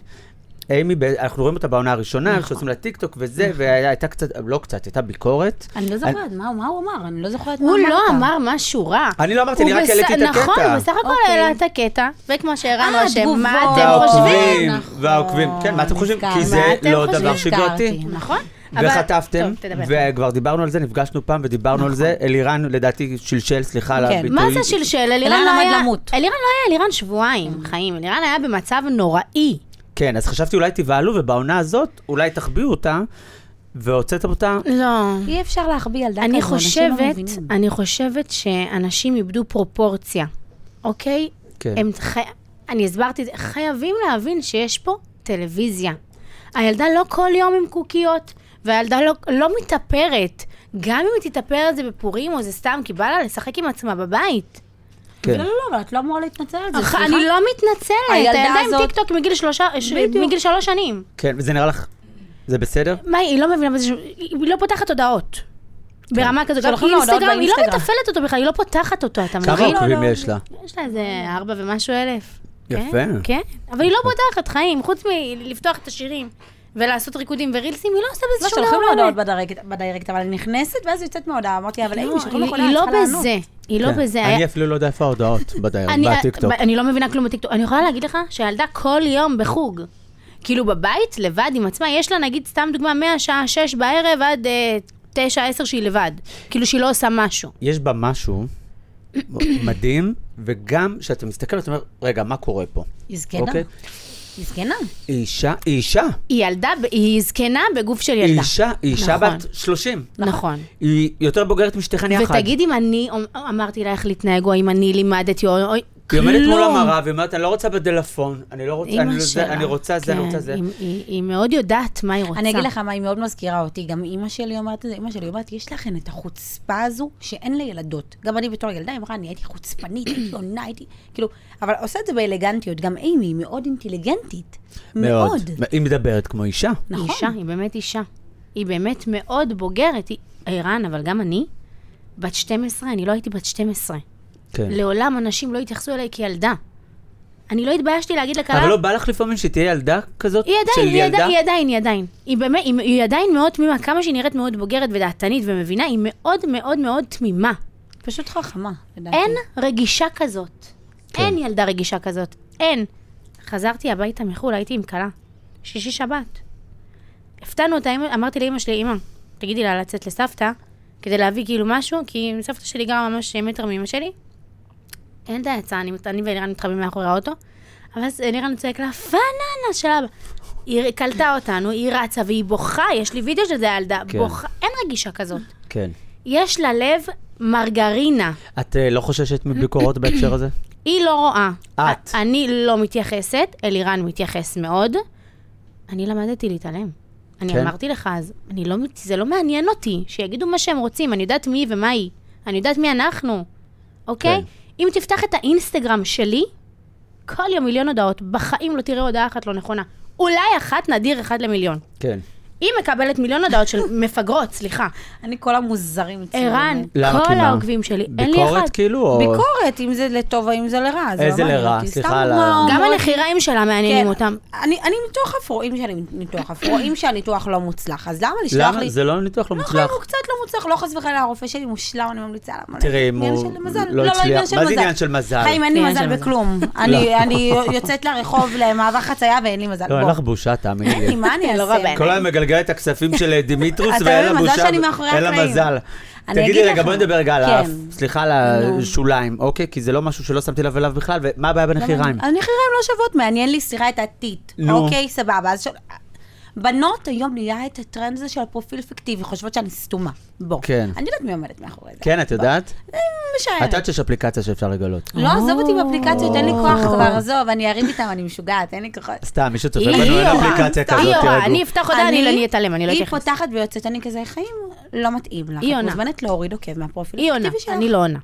אימי, ב- אנחנו רואים אותה בעונה הראשונה, נכון. שעושים לה טיקטוק וזה, והייתה קצת, לא קצת, הייתה ביקורת. אני לא זוכרת, מה מה הוא אמר? אני לא זוכרת מה הוא לא אמרת. אמר משהו רע. אני לא אמרתי, הוא אני רק בס- העליתי את הקטע. נכון, הוא בסך הכל אוקיי. העלה את הקטע, וכמו שערן אה, רושם, מה אתם התגובות. חושבים? והעוקבים, נכון, והעוקבים. כן, מה אתם חושבים? נזכרתי. כי זה מה אתם לא חושבים? דבר נזכרתי. שגרתי. נכון. אבל- וחטפתם, טוב, תדבר. נכון. וכבר דיברנו על זה, נפגשנו פעם ודיברנו על זה. אלירן, לדעתי, שלשל, סליחה על כן. הביטוי. מה זה שלשל? אלירן אלירן לא למד היה... למות. אלירן לא היה אלירן שבועיים, חיים. אלירן היה במצב נוראי. כן, אז חשבתי אולי תבהלו, ובעונה הזאת אולי תחביאו אותה, והוצאתם אותה. לא. אי אפשר להחביא ילדה כזו, אני אנשים לא חושבת, מבינים. אני חושבת שאנשים איבדו פרופורציה, אוקיי? כן. הם חי... אני הסברתי את זה, חייבים להבין שיש פה טלוויזיה. הילדה לא כל יום עם קוקיות, והילדה לא, לא מתאפרת. גם אם היא תתאפר על זה בפורים או זה סתם, כי בא לה לשחק עם עצמה בבית. כן. לא, לא, לא, אבל את לא אמורה להתנצל על זה, אך, סליחה. אני לא מתנצלת, הילדה הילדה, עם הזאת- טיקטוק מגיל, שלושה, ש... מגיל שלוש שנים. כן, וזה נראה לך... זה בסדר? מה, היא לא מבינה בזה ש... היא לא פותחת הודעות. ברמה כזו, גם שולחים לה הודעות כן. אינסטגרם, היא לא באינסטגרם. מתפעלת אותו בכלל, היא לא פותחת אותו, אתה כמה מבין? עוקבים יש לה? יש לה איזה ארבע ומשהו אלף. יפה. כן, כן, אבל היא לא פותחת חיים, חוץ מלפתוח את השירים ולעשות ריקודים ורילסים, היא לא עושה לא, בזה שום שולחים דבר. לה הודעות לא, בדיירקט- בדיירקט, אבל היא נכנסת ואז היא יוצאת מההודעה. אמרתי, אבל היא אימא, שכל היא יכולה, לא צריכה לענות. בזה, היא לא כן. בזה. היה- אני אפילו לא יודע איפה ההודעות בדיוק, אני- בטיקטוק. אני לא מבינה כלום בטיקטוק. אני יכולה להגיד לך שהילדה כל יום בחוג. כאילו בבית, לבד עם עצמה, יש לה נגיד, סתם דוגמה, מהשעה שש בערב עד אה, תשע, עשר שהיא לבד. כאילו שהיא לא עושה משהו. יש בה משהו מדהים, וגם כשאתה מסתכל, אתה אומר, רגע, מה קורה פה? היא כן, לא. זקנה, אוקיי? היא זקנה. היא אישה, היא אישה. היא ילדה, ב- היא זקנה בגוף של היא ילדה. אישה, היא אישה נכון. בת 30. נכון. היא יותר בוגרת משתיכן יחד. ותגיד אם אני אמ- אמרתי לה איך להתנהג, או אם אני לימדתי, או... או- היא כלום. עומדת מול המראה ואומרת, אני לא רוצה בדלפון, אני לא רוצה, אמא אני, לא זה, שלה. אני רוצה זה, אני רוצה כן, זה. היא- היא היא מאוד יודעת מה היא רוצה. אני אגיד לך מה, היא מאוד מזכירה אותי. גם אימא שלי אומרת את זה, אימא שלי אומרת, יש לכן את החוצפה הזו שאין לילדות. גם אני בתור ילדה, היא אמרה, אני הייתי חוצפנית, הייתי עונה, הייתי... כאילו, אבל עושה את זה באלגנטיות. גם אימי היא מאוד אינטליגנטית. מאוד. היא מדברת כמו אישה. היא נכון. אישה, היא באמת אישה. היא באמת מאוד בוגרת. היא... ערן, אבל גם אני, בת 12, אני לא הייתי בת 12. כן. לעולם אנשים לא התייחסו אליי כילדה. אני לא התביישתי להגיד לקהל... אבל לא בא לך לפעמים שהיא תהיה ילדה כזאת? היא של עדיין, היא ילדה? עדיין, היא עדיין, היא עדיין. היא באמת, היא, היא עדיין מאוד תמימה, כמה שהיא נראית מאוד בוגרת ודעתנית ומבינה, היא מאוד מאוד מאוד תמימה. פשוט חכמה, לדעתי. אין רגישה כזאת. כן. אין ילדה רגישה כזאת. אין. חזרתי הביתה מחו"ל, הייתי עם כלה. שישי שבת. הפתענו אותה, אמא- אמרתי לאימא שלי, אימא, תגידי לה לצאת לסבתא, כדי להביא כאילו משהו, כי סבתא שלי גרה ממש מטר מאמא שלי. ילדה יצאה, אני, אני ואלירן מתחבאים מאחורי האוטו, אבל אז אלירן צועק לה, פאננה של אבא. היא קלטה אותנו, היא רצה והיא בוכה, יש לי וידאו של זה, הילדה, כן. בוכה, אין רגישה כזאת. כן. יש לה לב מרגרינה. את אה, לא חוששת מביקורות בהקשר הזה? היא לא רואה. את. א- אני לא מתייחסת, אלירן מתייחס מאוד. אני למדתי להתעלם. אני כן. אמרתי לך אז, אני לא, מת- זה לא מעניין אותי, שיגידו מה שהם רוצים, אני יודעת מי היא ומה היא. אני יודעת מי אנחנו, אוקיי? כן. אם תפתח את האינסטגרם שלי, כל יום מיליון הודעות, בחיים לא תראה הודעה אחת לא נכונה. אולי אחת נדיר, אחד למיליון. כן. היא מקבלת מיליון הודעות של מפגרות, סליחה. אני כל המוזרים אצלי. ערן, באמת. למה? כי כל מה? העוקבים שלי, אין לי אחד. ביקורת כאילו? או- ביקורת, אם זה לטוב ואם זה לרע. זה איזה לא מעניין לרע? אותי, סליחה סתם על ה- דוגמאות. גם הנחיריים שלה מעניינים כן, אותם. אני אני ניתוח אפרועים שאני ניתוח אפרועים שהניתוח לא מוצלח, אז למה לשלוח לי... למה? זה לא ניתוח לא לא, חיים מוצלח. הוא קצת לא מוצלח, לא חס וחלילה, הרופא שלי מושלם, אני ממליצה עליו. תראי, אם עניין הוא של מזל. לא הצליח- עניין של מה זה עניין של מזל? לא. חיים, אין לי עניין של מזל מזל. בכלום. אני אני יוצאת לרחוב למעבר חצייה ואין לי מזל. לא, אין בוא. לך בושה, תאמיני אין לי, לי. מה אני לא אעשה? רבה. כל היום מגלגל את הכספים של אה, דימיטרוס אתה ואין אומר, לה מזל בושה, שאני מאחורי אין לה הקלעים. מזל. אני תגידי אגיד רגע, לך. בואי נדבר רגע על האף. כן. סליחה על השוליים, אוקיי? כי זה לא משהו שלא שמתי לב אליו בכלל, ומה לא הבעיה בנחיריים? הנחיריים לא שוות, מעניין לי סירה את הטיט. נו. אוקיי, סבבה. אז ש- בנות היום נהיה את הטרנד הזה של הפרופיל פיקטיבי, חושבות שאני סתומה. בוא. כן. אני יודעת מי עומדת מאחורי זה. כן, את יודעת? אני משערת. את יודעת שיש אפליקציה שאפשר לגלות. אה. לא, עזוב אותי באפליקציות, אין לי כוח אה. כבר, עזוב, אני ארים איתם, אני משוגעת, אין לי כוחות. סתם, מישהו צופה היא בנו, אין יורה, אפליקציה אה, סתם. אה, כזאת, היא יורה, אני תירגעו. אפתח הודעה, אני לא אני אתעלם, אני לא היא אתייחס. פותחת ויוצאת, אני כזה, חיים, לא מתאים לך. היא את עונה. מוזמנת להוריד עוקב מהפרופיל. היא עונה, הכתיבי שלך. אני לא עונה.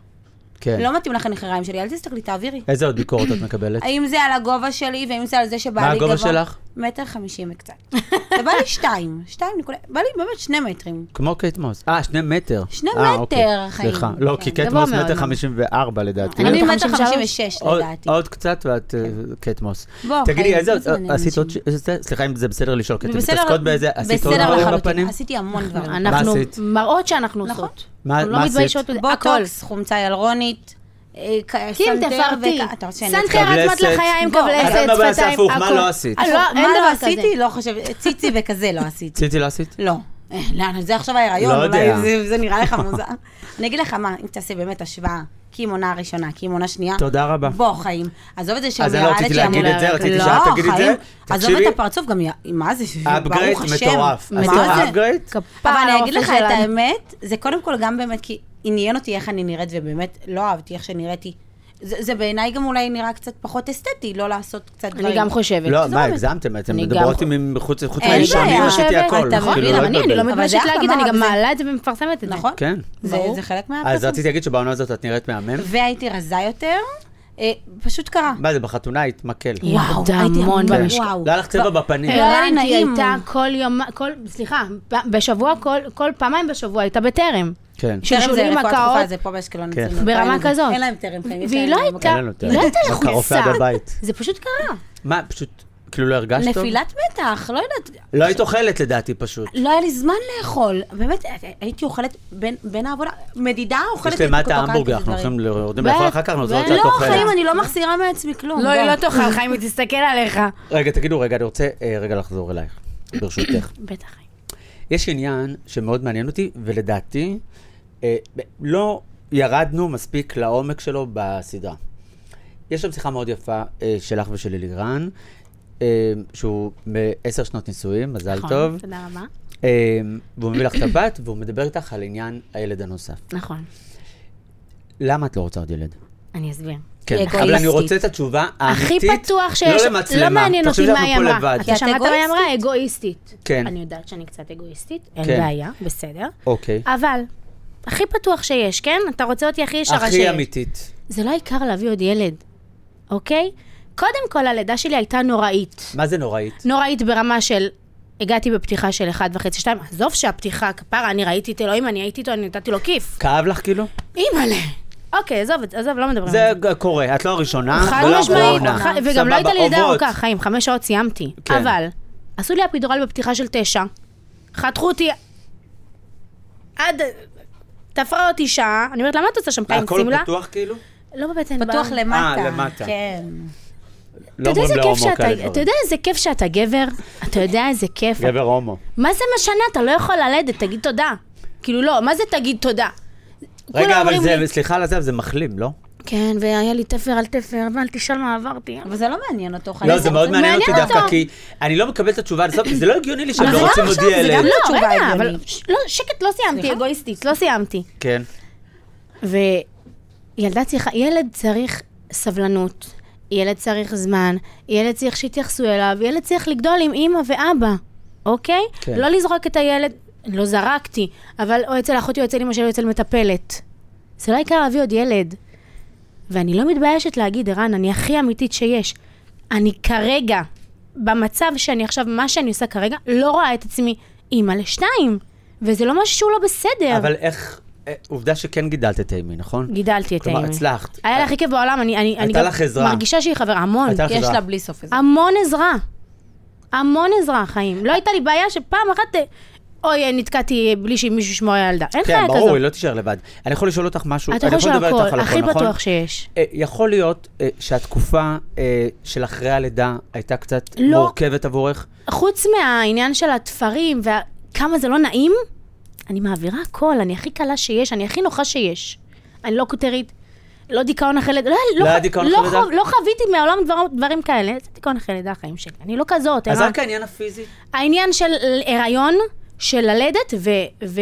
כן. לא אה. מתאים לך הנחיריים שלי, אל תסתכלי, תעבירי. איזה עוד ביקורת את מקבלת? האם זה על הגובה שלי, ואם זה על זה שבא לי מה גבוה? הגובה שלך? מטר חמישים וקצת. זה בא לי שתיים, שתיים נקודה, בא לי באמת שני מטרים. כמו קייט מוס. אה, שני מטר. שני אה, מטר, אוקיי. חיים. סליחה. לא, כי כן. קייט גבוה מוס מאוד, מטר נו. חמישים וארבע לדעתי. אני מטר מטר חמישים ושלוש? חמישים ושש, עוד- לדעתי. כן. עוד קצת ואת אה, קייט מוס. בוא, תגידי, חיים, איזה מה עוד אה, זה מעניין עשית עוד... ש- אנשים? איזה- סליחה אם זה בסדר לשאול, כי אתם בסדר- מתעסקות באיזה... עשית עוד בסדר דברים לחלוטין. בפנים? עשיתי המון דברים. אנחנו עשית? מראות שאנחנו נכון. עושות. מה- אנחנו מה לא עשית? מתביישות בזה, הכל. בוטוקס, חומצה ילרונית, אה, כ- קים סנטר תפרטי, וכ- אתה רוצה שאני סנטר אתחיל? את כבלסת. מטלחיים, בוא, כבלסת, אבל שפתיים, לא הכל. בעשה הפוך, מה לא עשית? אה, לא, אין מה לא דבר כזה. עשיתי? לא חושבת, ציצי וכזה לא עשיתי. ציצי לא עשית? לא. אה, לאן, זה עכשיו ההיריון, לא אולי יודע. זה- זה נראה לך מוזר. אני אגיד לך מה, אם תעשה באמת השוואה, כי עם עונה ראשונה, כי עם עונה שנייה. תודה רבה. בוא, חיים. עזוב את זה אז שאני אני לא רציתי שהיא להגיד אמורה- את זה, רציתי לא, שאת תגידי את זה. חיים, עזוב תקשיבי. את הפרצוף, גם יא- מה זה? upgrade אה, ברוך השם. מטורף. מה עשית זה? upgrade? כפר אבל אני הרופא אגיד לך את שלנו. האמת, זה קודם כל גם באמת, כי עניין אותי איך אני נראית, ובאמת לא אהבתי איך שנראיתי. זה זה בעיניי גם אולי נראה קצת פחות אסתטי, לא לעשות קצת דברים. אני גם חושבת. לא, זה מה, באמת. הגזמתם, אתם אני גם מדברות חו- עם חוץ חוץ אין מהאישה, אני בעיה. עשיתי חושבת, הכל. אתה נכון, כאילו, מבין, לא גם אני, אני לא התבלבלת. אבל זה מתביישת אחלה, להגיד, מה, אני גם זה- מעלה את זה ומפרסמת את זה. נכון? כן. זה ברור. זה חלק אז מהפרצוף. רציתי להגיד שבעונה הזאת את נראית מהמם. והייתי רזה יותר, אה, פשוט קרה. מה זה, בחתונה היית מקל. היא עבדה הייתי המון המון, במשקל. וואו. לא היה לך צבע בפנים. לא היה לי כן. ערן, היא נעים. הייתה כל יום, כל, סליחה, ב- בשבוע, כל, כל פעמיים בשבוע הייתה בטרם. כן. טרם שולשולים זה לכל התקופה, הקאות, זה פה באשקלון. כן. אצלנו, ברמה אין להם- כזאת. אין להם טרם חיים. יש והיא להם לא אלמוג. הייתה, אין לנו טרם. לא הייתה רק הרופא לחוצה. עד הבית. זה פשוט קרה. מה, פשוט, כאילו לא הרגשת טוב? נפילת מתח, לא יודעת. לא היית אוכלת לדעתי פשוט. לא היה לי זמן לאכול. באמת, הייתי אוכלת בין- בין העבודה, מדידה אוכלת... יש למטה קוקה, ההמבורגר, כזה אנחנו דברים. הולכים ל- יורדים ו- לאכול אחר כך, ו- נוצר לא, קצת לא, אוכלת. חיים, אני לא מחזירה מעצמי כלום. לא, היא בוא. לא תאכל, חיים, היא תסתכל עליך. רגע, תגידו, רגע, אני רוצה אה, רגע לחזור אלייך, ברשותך. בטח, חיים. יש עניין שמאוד מעניין אותי, ולדעתי, אה, ב- לא ירדנו מספיק לעומק שלו בסדרה. יש שם שיחה מאוד יפה אה, שלך ושל אלירן, אה, שהוא בעשר שנות נישואים, מזל נכון, טוב. תודה רבה. אה, והוא מביא לך את הבת, והוא מדבר איתך על עניין הילד הנוסף. נכון, למה את לא רוצה עוד ילד? אני אסביר. כן, היא אבל אני אגואיסטית. רוצה את התשובה האמיתית, הכי פתוח שיש, לא למצלמה. לא מעניין אותי מה היא אמרה. כן. תחשבי אתה שאנחנו את שמעת מה היא אגואיסטית? אמרה? אגואיסטית. כן. אני יודעת שאני קצת אגואיסטית, אין כן. בעיה, בסדר. פה לבד. אוקיי. אבל, הכי פתוח שיש, כן? אתה רוצה אותי הכי ישרה שיש. הכי אמיתית. זה לא העיקר להביא עוד ילד, אוקיי? קודם כל, הלידה שלי הייתה נוראית. מה זה נוראית? נוראית ברמה של... הגעתי בפתיחה של 1.5-2, עזוב שהפתיחה, כפרה, אני ראיתי את אלוהים, אני הייתי איתו, אני נתתי לו כיף. כאב לך כאילו? אה. אימא'לה. אוקיי, עזוב, את- עזוב, לא מדברים על זה ג- קורה, את לא הראשונה, חד ולא משמעית, האחרונה. ח- וגם לא סבבה, הייתה לי לידה עוברות. ארוכה, חיים, חמש שעות סיימתי. כן. אבל, עשו לי אפידורל בפתיחה של תשע, חתכו אותי עד... תפרה אותי שעה, אני אומרת, למה את עושה שם חיים הכל שמלה? פתוח כאילו? לא בבטן, פתוח ב- למטה. אה, למטה. כן. לא אתה יודע אומרים איזה להומו כיף שאתה, כאלה אתה דברים. יודע איזה כיף שאתה גבר? אתה יודע איזה כיף. גבר הומו. מה זה משנה? אתה לא יכול ללדת, תגיד תודה. כאילו לא, מה זה תגיד תודה? כולם רגע, אבל אומרים לי- זה, סליחה על זה, אבל זה מחלים, לא? כן, והיה לי תפר על תפר, ואל תשאל מה עברתי. אבל זה לא מעניין אותו, חיים. לא, זה מאוד מעניין אותי מעניין דווקא, אותו. כי אני לא מקבל את התשובה לסוף, כי זה לא הגיוני לי שהם אבל לא זה רוצים גם עוד עכשיו, זה ילד. גם לא- לא, תשובה רגע, הגיונית. אבל ש- לא, שקט, לא סיימתי, סליחה? אגואיסטית, לא סיימתי. כן. וילדה צריכה, ילד צריך סבלנות, ילד צריך זמן, ילד צריך שיתייחסו אליו, ילד צריך לגדול עם אימא ואבא, אוקיי? כן. כן. לא לזרוק את הילד, לא זרקתי, אבל או אצל אחותי או אצל אמא שלי או אצל מטפלת. זה לא העיקר להביא עוד ילד. ואני לא מתביישת להגיד, ערן, אני הכי אמיתית שיש. אני כרגע, במצב שאני עכשיו, מה שאני עושה כרגע, לא רואה את עצמי אימא לשתיים, וזה לא משהו שהוא לא בסדר. אבל איך... אה, עובדה שכן גידלת את אימי, נכון? גידלתי את כלומר, אימי. הצלחת. היה לה הכי כיף בעולם, אני, אני, אני לך עזרה. מרגישה שהיא חברה, המון. הייתה לך יש עזרה. לה בלי סוף עזרה. המון עזרה. המון עזרה, חיים. לא הייתה לי בעיה שפעם אחת, אה, אוי, אה, נתקעתי בלי שמישהו ישמור על הילדה. אין כן, חיה ברור, כזאת. היא לא תישאר לבד. אני יכול לשאול אותך משהו, אתה אני יכול יכול לשאול לדבר איתך על הכל, הכל, הכי נכון? בטוח שיש. אה, יכול להיות אה, שהתקופה אה, של אחרי הלידה הייתה קצת לא. מורכבת עבורך? חוץ מהעניין של התפרים וכמה זה לא נעים, אני מעבירה הכל, אני הכי קלה שיש, אני הכי נוחה שיש. אני לא כותרית, לא דיכאון אחרי לידה, לא, לא לא, היה דיכאון לא, אחרי לידה? חו- לא חוויתי מהעולם דבר, דברים כאלה, זה דיכאון אחרי לידה החיים שלי, אני לא כזאת. אז אלא- רק העניין הפיזי. העניין של הריון, של ללדת, ו, ו,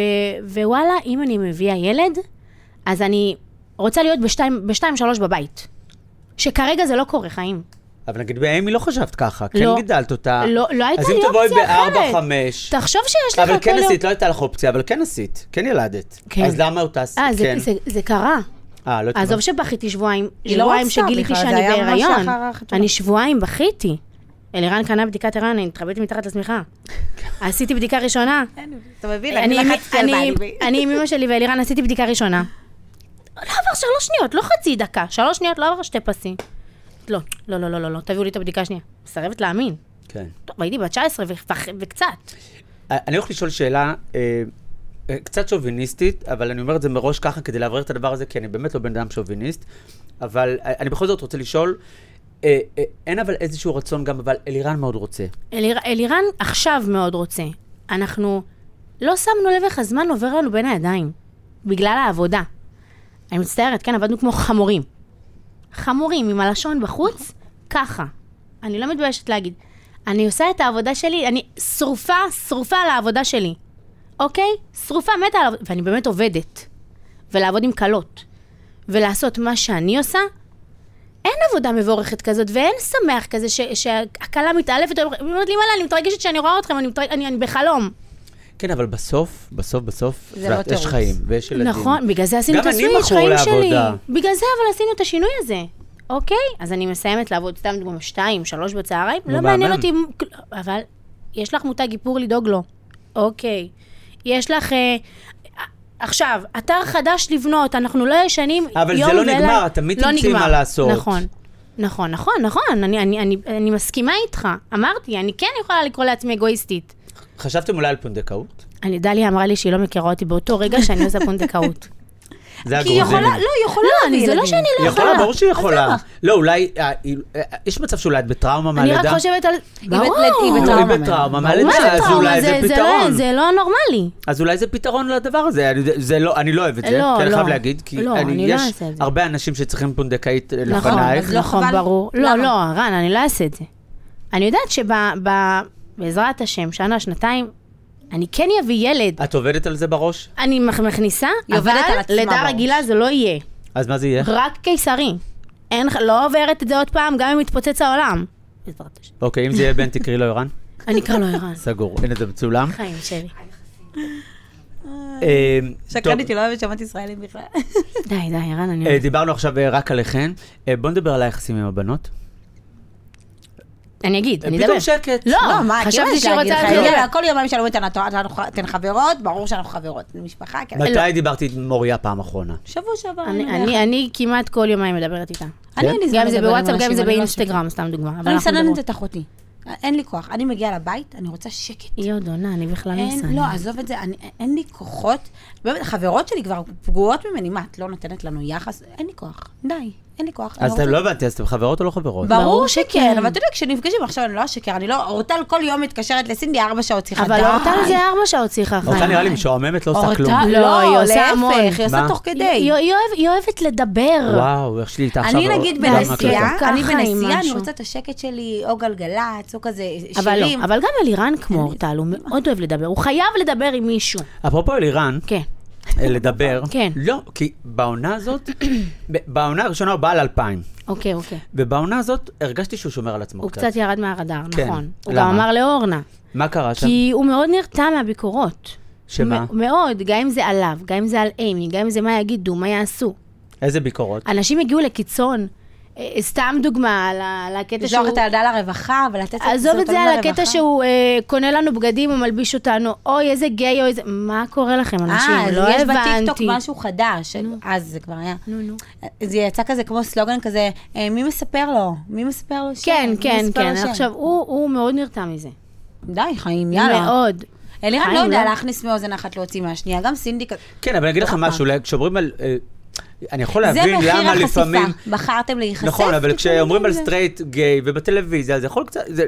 ווואלה, אם אני מביאה ילד, אז אני רוצה להיות בשתיים, בשתיים שלוש בבית. שכרגע זה לא קורה, חיים. אבל נגיד באמי לא חשבת ככה, כן לא. גידלת אותה. לא, לא הייתה לי אז אם תבואי אופציה אחרת. בארבע, חמש. תחשוב שיש לך אבל כל כן יום- עשית, לא הייתה לך אופציה, אבל כן עשית, כן ילדת. כן. אז למה אותה עשית? אה, זה, כן. זה, זה קרה. אה, לא יודעת. עזוב שבכיתי שבועיים, היא לא שבועיים רצתה שגיליתי בכלל, זה שאני היה ממש בהיריון. לאחר החתונה. אני שבועיים בכיתי. אלירן קנה בדיקת הריון, אני התחבאתי מתחת לשמיכה. עשיתי בדיקה ראשונה. אתה מבין? אני עם- אני- בעלי. אני עם אמא שלי ואלירן עשיתי בדיקה ראשונה. לא עבר שלוש שניות, לא חצי דקה. שלוש שניות לא עבר שתי פסים. לא, לא, לא, לא, לא, לא, תביאו לי את הבדיקה השנייה. מסרבת להאמין. כן. טוב, הייתי בת 19 ו- ו- וקצת. אה, אני הולך לשאול שאלה אה, אה, קצת שוביניסטית, אבל אני אומר את זה מראש ככה כדי לאוורר את הדבר הזה, כי אני באמת לא בן אדם שוביניסט, אבל אה, אני בכל זאת רוצה לשאול, אה, אה, אין אבל איזשהו רצון גם, אבל אלירן מאוד רוצה. אליר, אלירן עכשיו מאוד רוצה. אנחנו לא שמנו לב איך הזמן עובר לנו בין הידיים, בגלל העבודה. אני מצטערת, כן, עבדנו כמו חמורים. חמורים, עם הלשון בחוץ, ככה. אני לא מתביישת להגיד. אני עושה את העבודה שלי, אני שרופה, שרופה על העבודה שלי. אוקיי? שרופה, מתה על העבודה, ואני באמת עובדת. ולעבוד עם כלות. ולעשות מה שאני עושה, אין עבודה מבורכת כזאת, ואין שמח כזה ש- שהכלה מתעלפת, היא אומרת לי, וואלה, אני מתרגשת שאני רואה אתכם, אני, מתרג... אני, אני בחלום. כן, אבל בסוף, בסוף, בסוף, זה לא ואת- יש תירוץ. חיים ויש ילדים. נכון, בגלל זה עשינו גם את אני הסוויץ', מכור חיים לעבודה. שלי. בגלל זה אבל עשינו את השינוי הזה. אוקיי, אז אני מסיימת לעבוד סתם דוגמא שתיים, שלוש בצהריים, נו, לא מעניין מהמם. אותי, מ- כל- אבל יש לך מותג איפור לדאוג לו. אוקיי. יש לך... אה, עכשיו, אתר חדש לבנות, אנחנו לא ישנים יום אבל ולילה. זה לא נגמר, תמיד לא תמצאי מה נגמר. לעשות. נכון. נכון, נכון, נכון, אני, אני, אני, אני מסכימה איתך. אמרתי, אני כן יכולה לקרוא לעצמי אגואיסטית. חשבתם אולי על פונדקאות? אני, דליה אמרה לי שהיא לא מכירה אותי באותו רגע שאני עושה פונדקאות. זה כי היא הגרוזינים. יכולה, לא, היא יכולה לא, להביא אני- זה לא ילדים. שאני לא יכולה, יכולה. ברור שהיא יכולה. למה? לא, אולי, אה, היא- אה, יש מצב שאולי את בטראומה אני מהלידה? רק חושבת על... ברור. היא היא בטראומה. בטראומה מה מהלידה, מה זה אז טראומה? אולי זה זה פתרון. לא- זה לא נורמלי. אז אולי זה פתרון לדבר הזה, אני, זה לא, אני לא אוהב את זה, לא, כי אני לא. חייב להגיד, כי לא, אני, אני לא יש אעשה את זה. הרבה אנשים שצריכים פונדקאית אה, נכון, לפנייך, אז לא נכון, חבל? ברור. לא, למה? לא, רן, אני לא אעשה את זה. אני יודעת שבעזרת השם, שנה, שנתיים, אני כן אביא ילד. את עובדת על זה בראש? אני מכ- מכניסה, היא אבל עובדת על עצמה לידה בראש. רגילה זה לא יהיה. אז מה זה יהיה? רק קיסרי. אין, לך- לא עוברת את זה עוד פעם, גם אם יתפוצץ העולם. בעזרת השם. אוקיי, אם זה יהיה בן, תקראי לו ערן. אני אקרא לא לו ערן. סגור, הנה זה מצולם. חיים שלי. אה, טוב, שקרנית, היא לא אוהבת שמות ישראלים בכלל. די, די, ערן, אני... אה, דיברנו עכשיו אה, רק עליכן. אה, בוא נדבר על היחסים עם הבנות. אני אגיד, אני פתאום אדבר. שקט. לא, לא, מה, חשבתי שהיא רוצה... לך, לא להתחיל אתה לדבר. יודע, כל יומיים שאלו אותנו, "את- אנחנו- אתן חברות? ברור שאנחנו חברות. משפחה, כן. מתי דיברתי עם מוריה פעם אחרונה? שבוע שעבר. אני, מלך. אני, אני כמעט כל יומיים מדברת איתה. אני, כן? אין לי זמן גם אם זה לדבר עם בוואטסאפ, גם אם אנשים, זה אני לא באינסטגרם, סתם דוגמה. שם. אבל אני אנחנו לא- מסננת מדברות. את אחותי. אין לי כוח. אני מגיעה לבית, אני רוצה שקט. היא עוד עונה, אני בכלל לא אין, מסננת. לא, עזוב את זה, אני, אין לי כוחות. באמת, חברות שלי כבר פגועות ממני, מה, את לא נותנת לנו יחס? אין לי כוח. די, אין לי כוח. אז אני אתם רוצה- לא הבנתי, אז אתם חברות או לא חברות? ברור ברור שכן, שכן. אבל אתה יודע, כשנפגשים עכשיו, אני לא אשקר, אני לא, אורטל כל יום מתקשרת לסינדי ארבע שעות שיחה, אבל די. אורטל זה ארבע שעות שיחה, חיים. אותה נראה לי משועממת, לא עושה אורטל, כלום. לא, לא, היא עושה להפך, המון. היא עושה מה? תוך היא- היא- כדי. היא אוהב- היא אוהבת לדבר. וואו, איך שלי איתה עכשיו... לא- אני נגיד גם בנסיעה, הקלטה. ככה אני עם בנסיעה, אני משהו. רוצה את השקט שלי, או גלגלצ, או כזה אבל שירים. לא, אבל גם אלירן כמו אורטל, הוא מאוד אוהב לדבר. הוא חייב לדבר עם מישהו. אפרופו אלירן, כן. אה, לדבר. כן. לא, כי בעונה הזאת, ב- בעונה הראשונה הוא בא על אלפיים. אוקיי, אוקיי. ובעונה הזאת הרגשתי שהוא שומר על עצמו הוא קצת. קצת ירד מהרדאר, כן. נכון. הוא למה? גם אמר לאורנה. מה קרה שם? כי הוא מאוד נרתע מהביקורות. שמה? מ- מאוד, גם אם זה עליו, גם אם זה על אימי, גם אם זה מה יגידו, מה יעשו. איזה ביקורות? אנשים הגיעו לקיצון. אה, אה, סתם דוגמה, על ה- על הקטע שהוא... לשלוח את הילדה לרווחה ולתת את עזוב את זה הסרטונים על הקטע לרווחה. שהוא אה, קונה לנו בגדים, הוא מלביש אותנו, אוי, איזה גיי, אוי, איזה... מה קורה לכם, אה, אנשים? אז לא יש בטיקטוק הבנתי. משהו חדש, אז זה כבר היה. נו, נו. זה יצא כזה כמו סלוגן כזה, אה, מי מספר לו? מי מספר לו שם? כן, מי כן, מספר כן. לו שם?" עכשיו, הוא הוא מאוד נרתע מזה. די, חיים, יאללה. מאוד. אלירן לא חיים, יודע לא? להכניס מאוזן אחת להוציא מהשנייה, גם סינדי כזה. כן, אבל אני אגיד לך ברמה. משהו, אולי כשאומרים על... אה, אני יכול אה, זה לא להבין מחיר למה החשיפה. לפעמים... בחרתם להיחשף? נכון, אבל תתמודדו כשאומרים עם על זה. סטרייט גיי ובטלוויזיה, זה יכול קצת... זה-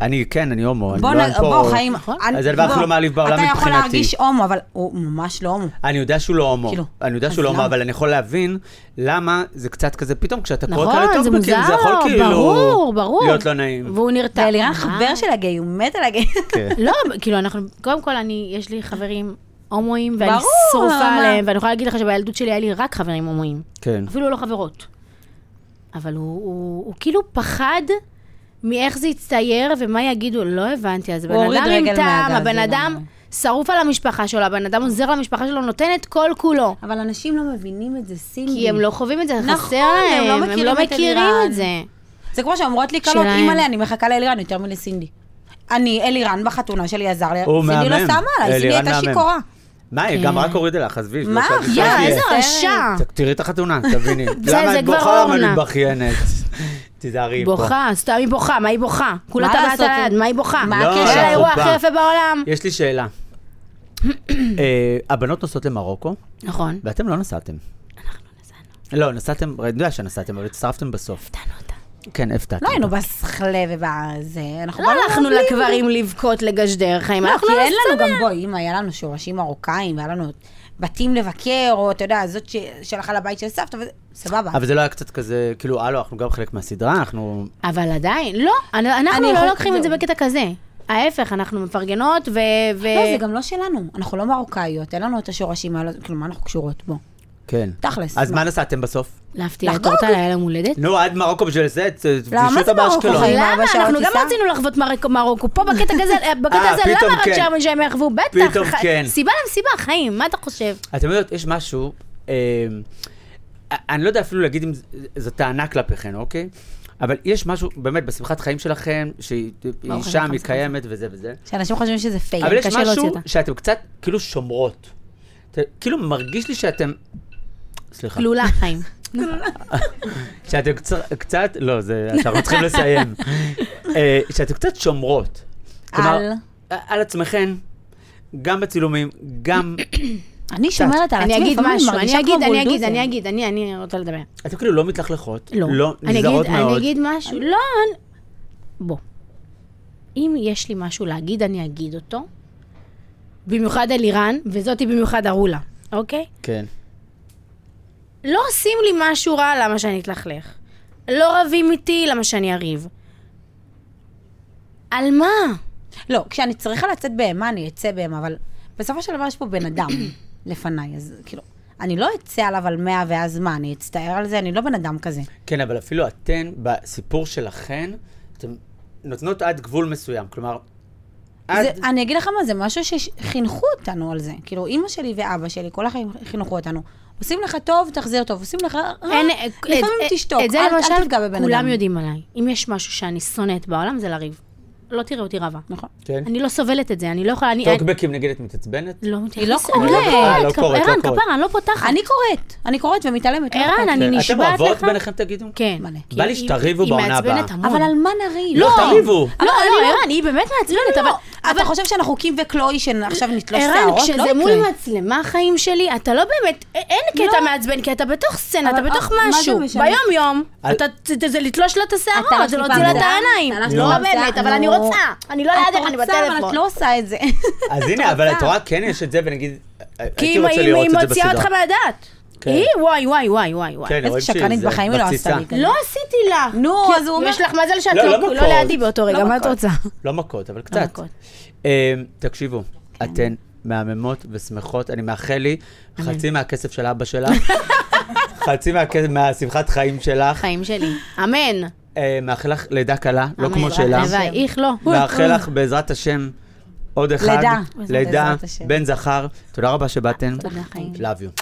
אני, כן, אני הומו, אני בוא, לא נ- אני פה... בוא, חיים, נכון. אל- אז הדבר הכי בוא. לא מעליב בעולם אתה יכול מבחינתי. להרגיש הומו, אבל הוא ממש לא הומו. אני יודע שהוא לא הומו, כאילו, אני יודע אז שהוא לא הומו, למה? אבל אני יכול להבין למה זה קצת כזה, פתאום כשאתה קורא כאלה נכון, זה טוקבקים, מוזר, זה יכול כאילו... ברור, ברור. להיות לא נעים. והוא נרתע. ואלירן מה? חבר של הגיי, הוא מת על הגיי. כן. לא, כאילו, אנחנו, קודם כל, אני, יש לי חברים הומואים, ואני ברור, שרופה מה? עליהם, ואני יכולה להגיד לך שבילדות שלי היה לי רק חברים הומואים. כן. אפילו לא חברות. אבל הוא, הוא, הוא כאילו פחד מאיך זה יצטייר ומה יגידו, לא הבנתי. אז הבן הוא הוריד אדם עם רגל טעם, מהגז, הבן זה אדם לגמרי. שרוף על המשפחה שלו, הבן אדם עוזר למשפחה שלו, נותן את כל כולו. אבל אנשים לא מבינים את זה, סינדי. כי הם לא חווים את זה, נכון, חסר הם לא להם, הם מכירים לא את מכירים אלירן. את זה. זה כמו שאומרות לי קלות, שלהם. אימא'לה, אני מחכה לאלירן יותר מלסינדי. אני, אלירן בחתונה שלי עזר לי, הוא סינדי לא מהמם. שמה עליי, סינדי אלירן הייתה מהמם. שיכורה. מה, היא גם רק הורידה לך, עזבי. מה? שלושה יא, דיסקים. כן. יא, איזה בסדר. רשע. ת- תראי את החתונה, תביני. זה- למה זה את כבר בוכה, למה אורנה. אני מתבכיינת? תיזהרי פה. בוכה, סתם היא בוכה, מה היא בוכה? כולה מה טבעת לעשות? על היד, מה היא בוכה? מה לא, הקשר? זה החופה. האירוע הכי יפה בעולם. יש לי שאלה. אה, הבנות נוסעות למרוקו, נכון. ואתם לא נסעתם. אנחנו נזענו, לא, נסעתם, אני יודע שנסעתם, אבל הצטרפתם בסוף. נתנו אותה. כן, הפתעתם. לא היינו בסחלה ובזה, אנחנו לא באנו הלכנו בלי- לקברים לבכות לגשדר חיים, לא, הלכנו כי אין לנו לסצנה. גם, בואי, אם היה לנו שורשים מרוקאים, והיה לנו בתים לבקר, או אתה יודע, זאת ש- שהלכה לבית של סבתא, וזה- סבבה. אבל זה לא היה קצת כזה, כאילו, הלו, אנחנו גם חלק מהסדרה, אנחנו... אבל עדיין, לא, אנ- אנחנו לא יכול- לוקחים את זה זהו. בקטע כזה. ההפך, אנחנו מפרגנות ו... ו- לא, זה גם לא שלנו, אנחנו לא מרוקאיות, אין לנו את השורשים האלה, כאילו, מה אנחנו קשורות? בוא. כן. תכלס. לא. אז מה נסעתם בסוף? להפתיע את לחגוג. אותה לילה מולדת. נו, עד מרוקו בשביל זה? ת- למה פגישו זה אותה מרוקו, באשקלון. חיים? למה? ארבע שעות אנחנו גם טיסה? רצינו לחוות מרק- מרוקו. פה בקטע כזה, בקטע אה, הזה, פתאום למה רק כן. שם שהם יחוו? בטח. פתאום ח- כן. סיבה להם סיבה, חיים, מה אתה חושב? אתם יודעות, יש משהו, אה, אני לא יודע אפילו להגיד אם ז- זו טענה כלפיכן, אוקיי? אבל יש משהו, באמת, בשמחת חיים שלכם, שהיא לא, היא ברוך שם, השם, היא שמחת קיימת וזה וזה. שאנשים חושבים שזה פייק, אבל יש קשה להוציא משהו אותה. שאתם קצת כאילו שומרות. אתם- כאילו מרגיש לי שאתם... סליחה. כלולה, חיים. שאתם קצר- קצת, לא, זה, אנחנו צריכים לסיים. אה, שאתם קצת שומרות. כלומר, על? על עצמכן, גם בצילומים, גם... אני שומרת על עצמי, אני אגיד לפעמים משהו, מרגישה אני אגיד, כמו אני אגיד, בולדוזר. אני אגיד, אני- אני רוצה לדבר. אתם כאילו לא מתלכלכות, לא. לא אני נזהרות אגיד- מאוד. אני אגיד משהו, לא, אני- בוא. אם יש לי משהו להגיד, אני אגיד אותו. במיוחד על איראן, וזאתי במיוחד ארולה, אוקיי? כן. לא עושים לי משהו רע, למה שאני אתלכלך? לא רבים איתי, למה שאני אריב? על מה? לא, כשאני צריכה לצאת בהמה, אני אצא בהמה, אבל בסופו של דבר יש פה בן אדם לפניי, אז כאילו, אני לא אצא עליו על מאה ואז מה, אני אצטער על זה, אני לא בן אדם כזה. כן, אבל אפילו אתן, בסיפור שלכן, אתן נותנות עד גבול מסוים. כלומר, עד... זה, אני אגיד לך מה, זה משהו שחינכו אותנו על זה. כאילו, אימא שלי ואבא שלי, כל החיים חינכו אותנו. עושים לך טוב, תחזיר טוב, עושים לך רע, אין- אה, לפעמים את- תשתוק, את זה אל, למשל, אל תפגע בבן אדם. כולם יודעים עליי. אם יש משהו שאני שונאת בעולם, זה לריב. לא תראה אותי רבה. נכון. כן. אני לא סובלת את זה, אני לא יכולה... אני- טוקבקים, נגיד, את מתעצבנת? לא היא לא מתייחסת. קוראת. אני לא אה, לא קוראת. קוראת, לא ערן, קוראת. כפרה, אני לא פותחת. אני קוראת, אני קוראת ומתעלמת. לא ערן, אכפת לי. אני אתם נשבעת כן. אוהבות לך- ביניכם, תגידו? כן. מלא. בא לי כי שתריבו היא- בעונה היא הבאה. מעצבנת המון. אבל על מה נריב? לא, תריבו. לא, לא, לא. ערן, היא באמת מעצבנת, אבל... אתה חושב שאנחנו קים וקלוי שעכשיו נתלוש ערן, שערות? לא כשזה יקרה. מול מצלמה חיים שלי, אתה לא באמת, א- אין קטע מעצבן, כי אתה בתוך סצנה, אתה אבל, בתוך אה, מה זה משהו. משנה? ביום-יום, על- אתה- זה- זה לתלוש לה את אתה השערות, זה רק להוציא לה את טיפה העיניים. מודעת, אתה לא רק באמת, טיפה אבל אני מודעת. רוצה. אני לא לידך, אני את רוצה, אבל את בטלפון. לא עושה את זה. אז הנה, אבל את רואה, כן יש את זה, ונגיד, כי הייתי אם רוצה היא לראות היא את זה מוציאה בסדרה. אותך מהדעת. כן. היא, וואי, וואי, וואי, וואי, וואי. כן, איזה רואים שקרנית שזה בחיים היא לא בתסיסה. עשתה לי. לא עשיתי לה. נו, כי אז הוא אומר- יש לך מזל שאת לא, לא לא לא מכות. לידי באותו רגע, לא מה את מכות. רוצה? לא מכות, אבל קצת. מכות. אה, תקשיבו, אתן מהממות ושמחות, אני מאחל לי חצי מהכסף של אבא שלך, חצי מהכסף- מהשמחת חיים שלך, חיים שלי. אמן. אה, מאחל לך לידה קלה, לא אמן. כמו שלה. הלוואי, איך לא. מאחל לך בעזרת השם עוד אחד, לידה. לידה, בעזרת השם. בן זכר, תודה רבה שבאתם, תודה, חיים. love you.